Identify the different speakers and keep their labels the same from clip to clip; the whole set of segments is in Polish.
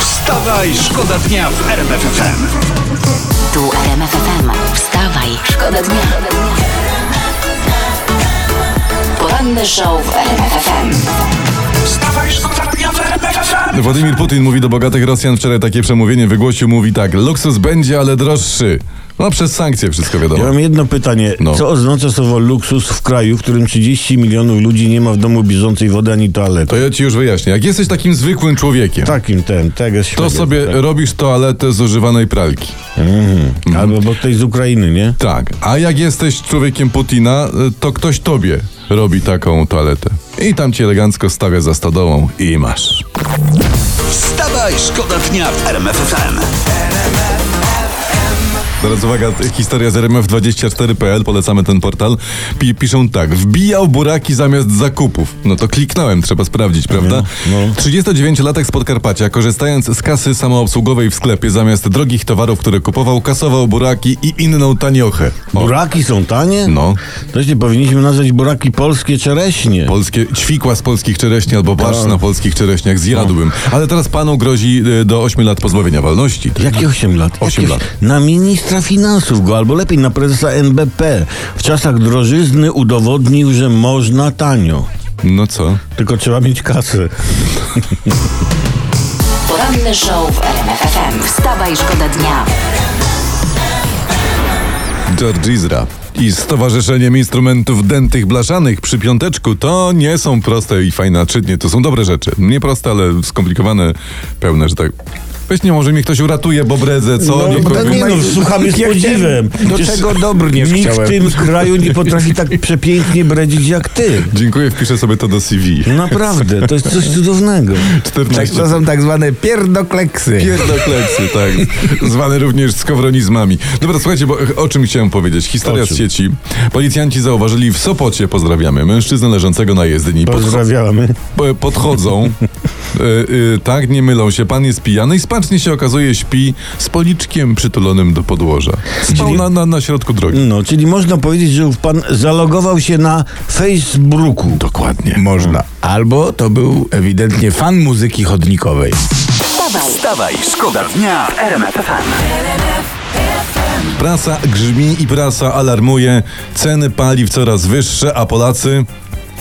Speaker 1: Wstawaj, szkoda dnia w RMF FM.
Speaker 2: Tu RMF FM. Wstawaj, szkoda dnia. Poranny show w RMF FM.
Speaker 1: Wstawaj, szkoda dnia w RMF FM.
Speaker 3: Władimir Putin mówi do bogatych Rosjan wczoraj takie przemówienie wygłosił, mówi tak, luksus będzie, ale droższy. No przez sankcje wszystko wiadomo.
Speaker 4: Ja mam jedno pytanie.
Speaker 3: No.
Speaker 4: Co oznacza słowo luksus w kraju, w którym 30 milionów ludzi nie ma w domu bieżącej wody ani toalety?
Speaker 3: To ja ci już wyjaśnię. Jak jesteś takim zwykłym człowiekiem,
Speaker 4: Takim ten, tego jest
Speaker 3: to
Speaker 4: świetny,
Speaker 3: sobie
Speaker 4: tak.
Speaker 3: robisz toaletę z używanej pralki. y,
Speaker 4: Albo bo ktoś z Ukrainy, nie?
Speaker 3: Tak. A jak jesteś człowiekiem Putina, y, to ktoś tobie robi taką toaletę. I tam cię elegancko stawia za stodołą i masz.
Speaker 1: Wstawaj, szkoda dnia w RMF FM.
Speaker 3: Teraz uwaga, t- historia z RMF24.pl, polecamy ten portal. Pi- piszą tak, wbijał buraki zamiast zakupów. No to kliknąłem, trzeba sprawdzić, prawda?
Speaker 4: No, no.
Speaker 3: 39-latek z Podkarpacia, korzystając z kasy samoobsługowej w sklepie, zamiast drogich towarów, które kupował, kasował buraki i inną taniochę. O,
Speaker 4: Buraki są tanie?
Speaker 3: No.
Speaker 4: To się powinniśmy nazwać buraki polskie czereśnie.
Speaker 3: polskie ćwikła z polskich czereśni albo barsz na polskich czereśniach zjadłbym. Ale teraz panu grozi y, do 8 lat pozbawienia wolności.
Speaker 4: Jakie 8 lat?
Speaker 3: Osiem
Speaker 4: Jakie-
Speaker 3: lat.
Speaker 4: Na ministra finansów go, albo lepiej na prezesa NBP. W czasach drożyzny udowodnił, że można tanio.
Speaker 3: No co?
Speaker 4: Tylko trzeba mieć kasę.
Speaker 2: Poranny show w RMF FM. Wstawaj, szkoda dnia.
Speaker 3: George Izra i Stowarzyszeniem Instrumentów Dętych Blaszanych przy Piąteczku to nie są proste i fajne czytnie, to są dobre rzeczy. Nie proste, ale skomplikowane, pełne, że tak... Weź nie, może mnie ktoś uratuje, bo bredzę, co? Niech
Speaker 4: bo
Speaker 3: kogoś-
Speaker 4: tak nie no, słuchamy z podziwem.
Speaker 5: do
Speaker 4: Przecież
Speaker 5: czego dobrniesz
Speaker 4: Nikt
Speaker 5: chciałem.
Speaker 4: w tym kraju nie potrafi tak przepięknie bredzić jak ty.
Speaker 3: Dziękuję, wpiszę sobie to do CV.
Speaker 4: Naprawdę, to jest coś cudownego.
Speaker 3: 14
Speaker 5: Tak, to są tak zwane pierdokleksy.
Speaker 3: Pierdokleksy, tak. Zwane również skowronizmami. Dobra, słuchajcie, bo e, o czym chciałem powiedzieć? Historia
Speaker 4: O
Speaker 3: z
Speaker 4: czym?
Speaker 3: sieci. Policjanci zauważyli w Sopocie, pozdrawiamy, mężczyznę leżącego na jezdni. Podcho-
Speaker 4: Pozdrawiamy.
Speaker 3: p- E, podchodzą, y, y, tak, nie mylą się, pan jest pijany i spacznie się okazuje śpi z policzkiem przytulonym do podłoża. Spał
Speaker 4: Czyli-
Speaker 3: na, na, na środku drogi.
Speaker 4: No, czyli można powiedzieć, że ów pan zalogował się na Facebooku.
Speaker 3: Dokładnie.
Speaker 5: Można. Albo to był ewidentnie fan muzyki chodnikowej.
Speaker 2: Wstawaj,
Speaker 1: Wstawaj, szkoda dnia w RMF FM.
Speaker 3: Prasa grzmi i prasa alarmuje. Ceny paliw coraz wyższe, a Polacy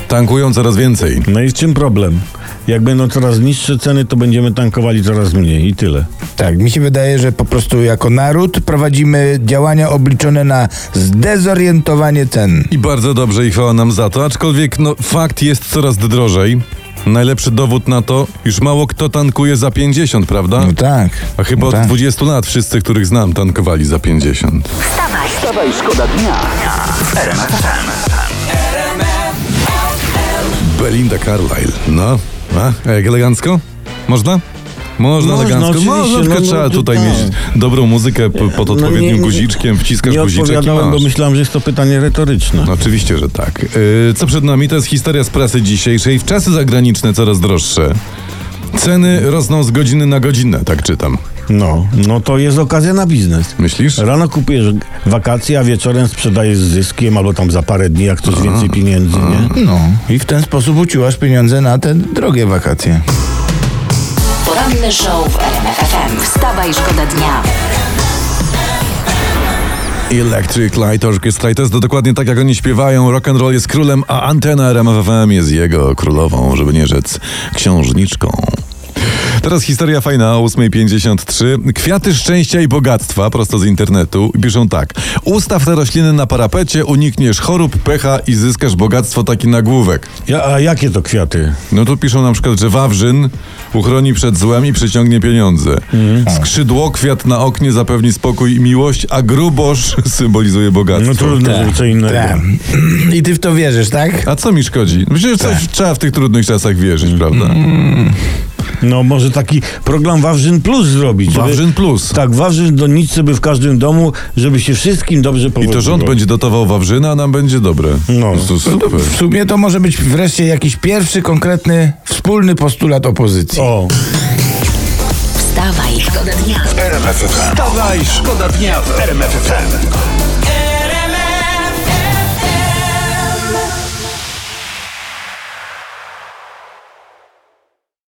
Speaker 3: tankują coraz więcej.
Speaker 4: No i w czym problem? Jak będą coraz niższe ceny, to będziemy tankowali coraz mniej i tyle.
Speaker 5: Tak, mi się wydaje, że po prostu jako naród prowadzimy działania obliczone na zdezorientowanie cen.
Speaker 3: I bardzo dobrze i chwała nam za to, aczkolwiek no, fakt jest coraz drożej. Najlepszy dowód na to, już mało kto tankuje za 50, prawda?
Speaker 5: No tak.
Speaker 3: A chyba
Speaker 5: no
Speaker 3: od
Speaker 5: tak.
Speaker 3: 20 lat wszyscy, których znam, tankowali za 50.
Speaker 2: wstawaj.
Speaker 1: Wstawaj, szkoda dnia w RMF FM.
Speaker 3: Belinda Carlyle. No, a jak elegancko? Można? Można,
Speaker 4: Można,
Speaker 3: elegancko.
Speaker 4: oczywiście,
Speaker 3: Można, tylko
Speaker 4: no, no,
Speaker 3: trzeba
Speaker 4: to
Speaker 3: tutaj
Speaker 4: tak.
Speaker 3: mieć dobrą muzykę p- pod
Speaker 4: No, nie,
Speaker 3: odpowiednim
Speaker 4: nie, nie.
Speaker 3: guziczkiem, wciskasz
Speaker 4: Nie
Speaker 3: guziczek i
Speaker 4: odpowiadałem, bo
Speaker 3: masz.
Speaker 4: myślałem, że jest to pytanie retoryczne.
Speaker 3: No, Oczywiście, że tak. Yy, co przed nami, to jest historia z prasy dzisiejszej. W czasy zagraniczne coraz droższe. Ceny rosną z godziny na godzinę, tak czytam.
Speaker 4: No, no to jest okazja na biznes.
Speaker 3: Myślisz?
Speaker 4: Rano kupujesz wakacje, a wieczorem sprzedajesz z zyskiem albo tam za parę dni, jak chcesz więcej pieniędzy, nie?
Speaker 5: No i w ten sposób uciłasz pieniądze na te drogie wakacje.
Speaker 2: Poranny show w RMF FM. Wstawaj, szkoda dnia.
Speaker 3: Electric Light Orchestra i to jest dokładnie tak, jak oni śpiewają. Rock and roll jest królem, a antena RMF FM jest jego królową, żeby nie rzec księżniczką. Teraz historia fajna o 8.53. Kwiaty szczęścia i bogactwa, prosto z internetu. Piszą tak. Ustaw te rośliny na parapecie, unikniesz chorób, pecha i zyskasz bogactwo taki nagłówek.
Speaker 4: Ja, a jakie to kwiaty?
Speaker 3: No tu piszą na przykład, że Wawrzyn uchroni przed złem i przyciągnie pieniądze.
Speaker 4: Mhm. Tak.
Speaker 3: Skrzydło, kwiat na oknie zapewni spokój i miłość, a grubosz symbolizuje
Speaker 4: No
Speaker 3: bogactwo.
Speaker 4: trudno, żeby co innego.
Speaker 5: Tak. I ty w to wierzysz, tak?
Speaker 3: A co mi szkodzi? Myślę, że coś
Speaker 4: Tak.
Speaker 3: trzeba w tych trudnych czasach wierzyć, prawda?
Speaker 4: Mm, No może taki program Wawrzyn Plus zrobić. żeby-
Speaker 3: Wawrzyn Plus.
Speaker 4: Tak, Wawrzyn donicy by w każdym domu, żeby się wszystkim dobrze
Speaker 3: I
Speaker 4: powodziło.
Speaker 3: to rząd będzie dotował Wawrzyna, a nam będzie dobre.
Speaker 4: No.
Speaker 3: To super.
Speaker 5: W sumie to może być wreszcie jakiś pierwszy konkretny wspólny postulat opozycji.
Speaker 4: O,
Speaker 2: Wstawaj, szkoda dnia.
Speaker 1: Wstawaj, szkoda dnia w RMF FM.